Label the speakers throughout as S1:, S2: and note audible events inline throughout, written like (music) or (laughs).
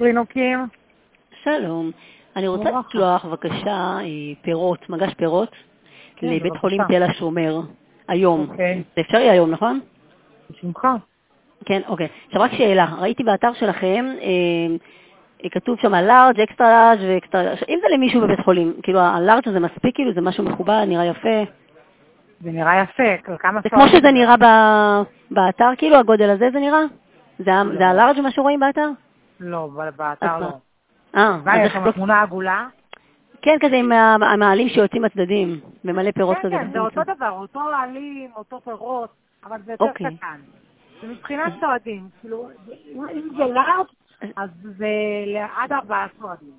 S1: רינוקים.
S2: שלום. אני רוצה
S1: וואו.
S2: לשלוח בבקשה אה, פירות, מגש פירות,
S1: כן,
S2: לבית
S1: בבקשה.
S2: חולים תל השומר, היום.
S1: אוקיי.
S2: זה אפשרי היום, נכון?
S1: בשמחה.
S2: כן, אוקיי. עכשיו רק שאלה, ראיתי באתר שלכם, אה, אה, כתוב שם לארג', אקסטרה לארג' ואקסטרה לארג'. אם זה למישהו בבית חולים, כאילו הלארג' הזה מספיק, כאילו זה משהו מכובד, נראה יפה.
S1: זה נראה יפה, כל כמה
S2: זה
S1: שעות.
S2: כמו שזה נראה ב- באתר, כאילו הגודל הזה זה נראה? זה ה-
S1: לא.
S2: זה הלארג' מה שרואים באתר?
S1: לא, ב-
S2: אז
S1: באתר
S2: מה?
S1: לא.
S2: אה,
S1: מה,
S2: אז
S1: יש
S2: איך-
S1: שם תמונה עגולה?
S2: כן, כזה עם ה- המעלים שיוצאים הצדדים, במלא פירות
S1: כן,
S2: כזה.
S1: כן, זה
S2: בפנים.
S1: אותו דבר, אותו עלים, אותו פירות, אבל זה יותר
S2: אוקיי.
S1: קטן. זה מבחינת סועדים, כאילו, אם אם זה לארג' אז זה עד ארבעה סועדים.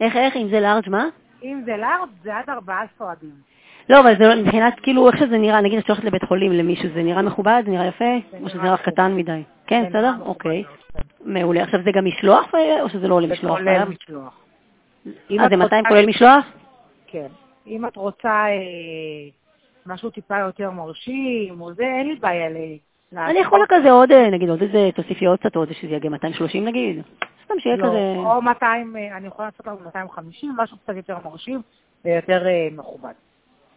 S2: איך, איך, אם זה לארג' מה?
S1: אם זה לארג' זה עד ארבעה סועדים.
S2: לא, אבל זה לא, מבחינת, כאילו, איך שזה נראה, נגיד, את שולחת לבית חולים למישהו, זה נראה מכובד, זה נראה יפה, או שזה
S1: נראה
S2: נראה קטן מדי? כן,
S1: זה
S2: בסדר?
S1: נראה
S2: אוקיי.
S1: מכובד מאוד, כן.
S2: מעולה. עכשיו, זה גם משלוח, אה, או שזה לא עולה
S1: זה
S2: משלוח?
S1: כולל
S2: חייב?
S1: משלוח. אם
S2: אה,
S1: את
S2: זה 200
S1: רוצה-
S2: כולל משלוח?
S1: כן. אם את רוצה אה, משהו טיפה יותר מרשים, או זה, אין לי בעיה ל...
S2: אני יכולה כזה עוד, אה, נגיד, עוד איזה, תוסיפי עוד קצת, עוד שזה יגיע 230 נגיד. סתם שיהיה
S1: לא,
S2: כזה...
S1: או 200, אה, אני יכולה לעשות לנו 250, משהו קצת יותר מרשים ויותר אה, מכובד.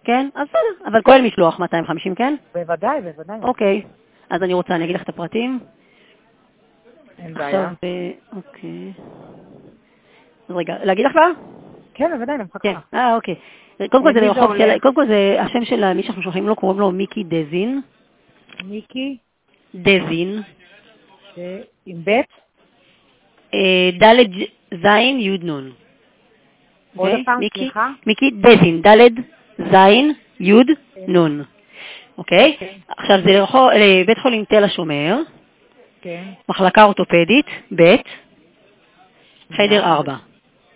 S2: כן? אז בסדר. אבל כולל משלוח 250, כן?
S1: בוודאי, בוודאי,
S2: אוקיי. אז אני רוצה, אני אגיד לך את הפרטים.
S1: אין בעיה.
S2: עכשיו, אה, אוקיי. אז רגע, להגיד לך כבר?
S1: כן, בוודאי, אני מחכה
S2: כן,
S1: לך.
S2: אה, אוקיי. קודם כל זה
S1: למי זה
S2: ברחוב
S1: עולה?
S2: של... קודם כל זה השם של מי שאנחנו שולחים לו, קוראים לו מיקי דזין.
S1: מיקי,
S2: דזין.
S1: אה, עם בית,
S2: אה, דלת זין יוד נון.
S1: עוד
S2: אוקיי?
S1: פעם,
S2: מיקי-
S1: סליחה.
S2: מיקי דזין, דלת זין יוד
S1: כן.
S2: נון. אוקיי?
S1: אוקיי.
S2: עכשיו זה לרחוב- אה, לבית חולים תל השומר,
S1: כן.
S2: מחלקה אורתופדית, ב', חדר 4.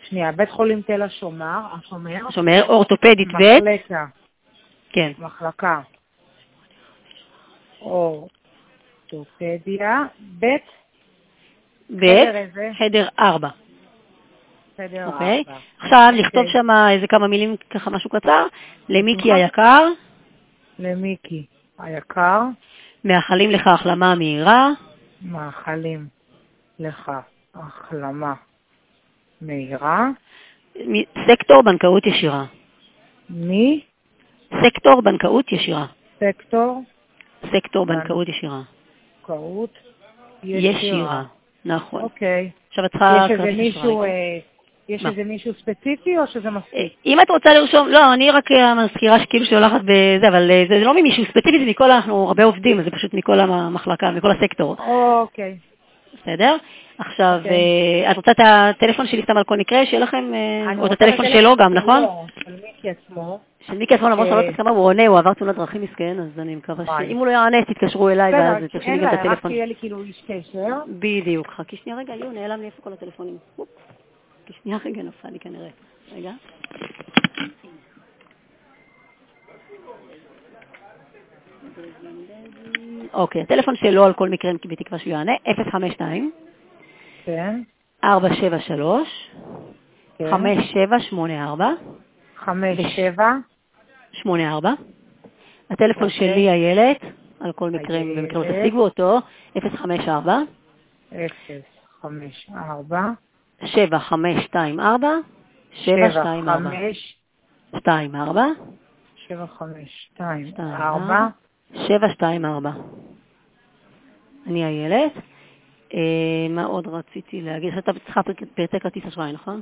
S1: שנייה, בית חולים תל השומר, השומר,
S2: שומר, אורתופדית ב',
S1: מחלקה,
S2: כן.
S1: מחלקה, אורתופדיה, בית,
S2: ב',
S1: חדר איזה?
S2: חדר 4.
S1: חדר
S2: אוקיי?
S1: ארבע.
S2: עכשיו לכתוב
S1: כן.
S2: שם איזה כמה מילים, ככה משהו קצר, למיקי
S1: בשמחה.
S2: היקר,
S1: למיקי היקר,
S2: מאחלים לך החלמה מהירה,
S1: מאחלים לך החלמה מהירה
S2: מ- סקטור בנקאות ישירה.
S1: מסקטור
S2: סקטור בנקאות ישירה. סקטור
S1: בנ-
S2: בנקאות ישירה.
S1: קהות
S2: ישירה. נכון.
S1: אוקיי.
S2: עכשיו את צריכה...
S1: יש איזה
S2: כרטיס
S1: מישהו,
S2: אשראי.
S1: אה, יש
S2: אוקיי. מה?
S1: איזה מישהו ספציפי או שזה
S2: אה,
S1: מספיק?
S2: אם את רוצה לרשום, לא, אני רק אה, המזכירה שכאילו שולחת בזה, אבל אה, זה לא ממישהו ספציפי, זה מכל, אנחנו הרבה עובדים, אז זה פשוט מכל המחלקה, מכל הסקטור.
S1: אוקיי.
S2: בסדר? עכשיו,
S1: אוקיי.
S2: אה, את רוצה את הטלפון שלי סתם על כל מקרה, שיהיה לכם, אה,
S1: אני
S2: או את
S1: רוצה
S2: הטלפון
S1: לטלפון
S2: שלו גם, נכון?
S1: שלו, של מיקי עצמו.
S2: של מיקי עצמו, למרות שאני לא
S1: אה,
S2: יודעת כמה הוא עונה, הוא עבר תאונת דרכים מסכן, אז אני מקווה
S1: וואי.
S2: שאם הוא לא יענה, תתקשרו אליי,
S1: בסדר,
S2: ואז
S1: כי
S2: תרשי לי
S1: אין
S2: גם את
S1: בעיה, רק
S2: הטלפון.
S1: שיהיה לי כאילו איש קשר.
S2: בדיוק, חכי שנייה רגע, יו, נעלם לי איפה כל הטלפונים. אופ, חכי שנייה רגע, נפל לי כנראה. רגע. אוקיי, הטלפון שלו על כל מקרה, בתקווה שהוא יענה, 052
S1: כן.
S2: 473
S1: כן.
S2: 5784
S1: חמש, שבע.
S2: 84. הטלפון
S1: אוקיי.
S2: שלי איילת, על כל מקרה,
S1: איילת.
S2: במקרה לא תשיגו אותו, 054
S1: אפס, חמש, ארבע,
S2: 7524
S1: שבע,
S2: 724
S1: חמש,
S2: 24
S1: שבע, חמש, שתיים,
S2: שתיים, אה?
S1: ארבע,
S2: 724. אני איילת. אה, מה עוד רציתי להגיד? עכשיו אתה צריכה פרט- פרטי כרטיס אשראי, נכון?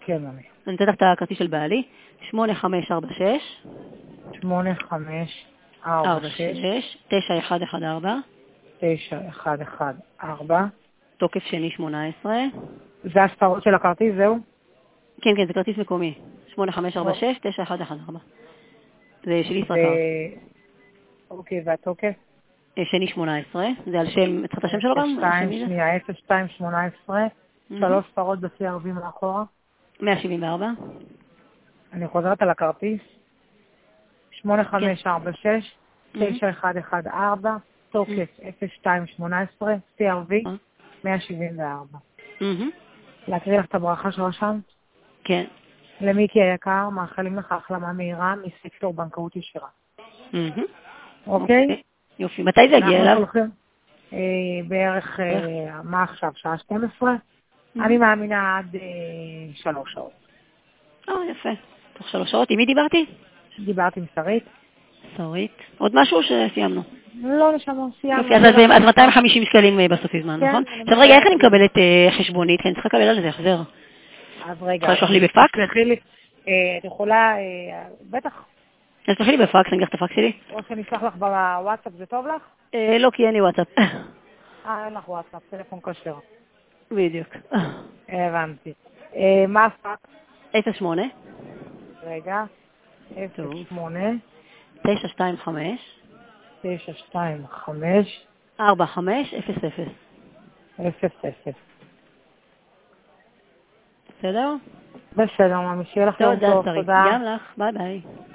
S1: כן, אני.
S2: אני נותנת לך את הכרטיס של בעלי, 8546
S1: שמונה, חמש, ארבע, שש,
S2: 46 9114,
S1: תשע, אחד, אחד, ארבע.
S2: תוקף שני 18.
S1: זה הספרות של הכרטיס, זהו?
S2: כן, כן, זה כרטיס מקומי. 8546
S1: נכון.
S2: 9114. זה של
S1: אה,
S2: ישראכרט.
S1: ו- אוקיי, והתוקף?
S2: אה, שני 18, זה על שם, את צריכה את השם שלו גם? על
S1: שתיים,
S2: שם מי זה?
S1: שנייה, אפס, שתיים, שמונה עשרה,
S2: Mhm.
S1: שלוש ספרות בשיא ערבי מאחורה.
S2: 174.
S1: אני חוזרת על הכרטיס.
S2: כן.
S1: שמונה, חמש, ארבע, שש,
S2: Mm-hmm.
S1: תשע, אחד, אחד, ארבע, תוקף, אפס, שתיים, שמונה עשרה, שיא ערבי,
S2: Mhm.
S1: מאה שבעים וארבע.
S2: Mhm.
S1: להקריא לך את הברכה שרשמת?
S2: כן.
S1: למיקי היקר, מאחלים לך החלמה מהירה מסקטור בנקאות ישירה,
S2: Mhm.
S1: אוקיי?
S2: יופי. מתי זה יגיע אה.
S1: אנחנו
S2: אליו?
S1: שולחים אה, בערך, אה, מה עכשיו, שעה 12? אני מאמינה עד אה, שלוש שעות.
S2: אה, יפה. תוך שלוש שעות. עם מי דיברתי?
S1: דיברתי עם שרית?
S2: שרית. עוד משהו או שסיימנו?
S1: לא, נשמה, סיימנו.
S2: אוקיי, אז- אז אז 250 שקלים אה, בסוף הזמן,
S1: כן,
S2: נכון?
S1: אני
S2: עכשיו רגע, איך
S1: מקבלת.
S2: אני מקבלת אה, חשבונית? כי אני צריכה לקבל על זה החזר.
S1: אז רגע.
S2: צריכה לשלוח לי בפקס?
S1: תשלחי לי. אה, את יכולה, אה, בטח,
S2: אז תשלחי לי בפקס, אני אקח את הפקס שלי.
S1: או שאני אשלח לך בוואטסאפ, זה טוב לך?
S2: אה, לא, כי אין לי
S1: (laughs)
S2: וואטסאפ.
S1: אה, אין לך וואטסאפ, טלפון כשר.
S2: בדיוק.
S1: הבנתי. אה, מה הפקס?
S2: 08,
S1: רגע.
S2: טוב.
S1: 08
S2: 925,
S1: 925
S2: 4500.
S1: 00.
S2: בסדר?
S1: בסדר, ממי, שיהיה לך יום
S2: תודה,
S1: טוב,
S2: לא שרית.
S1: תודה.
S2: גם לך, ביי ביי.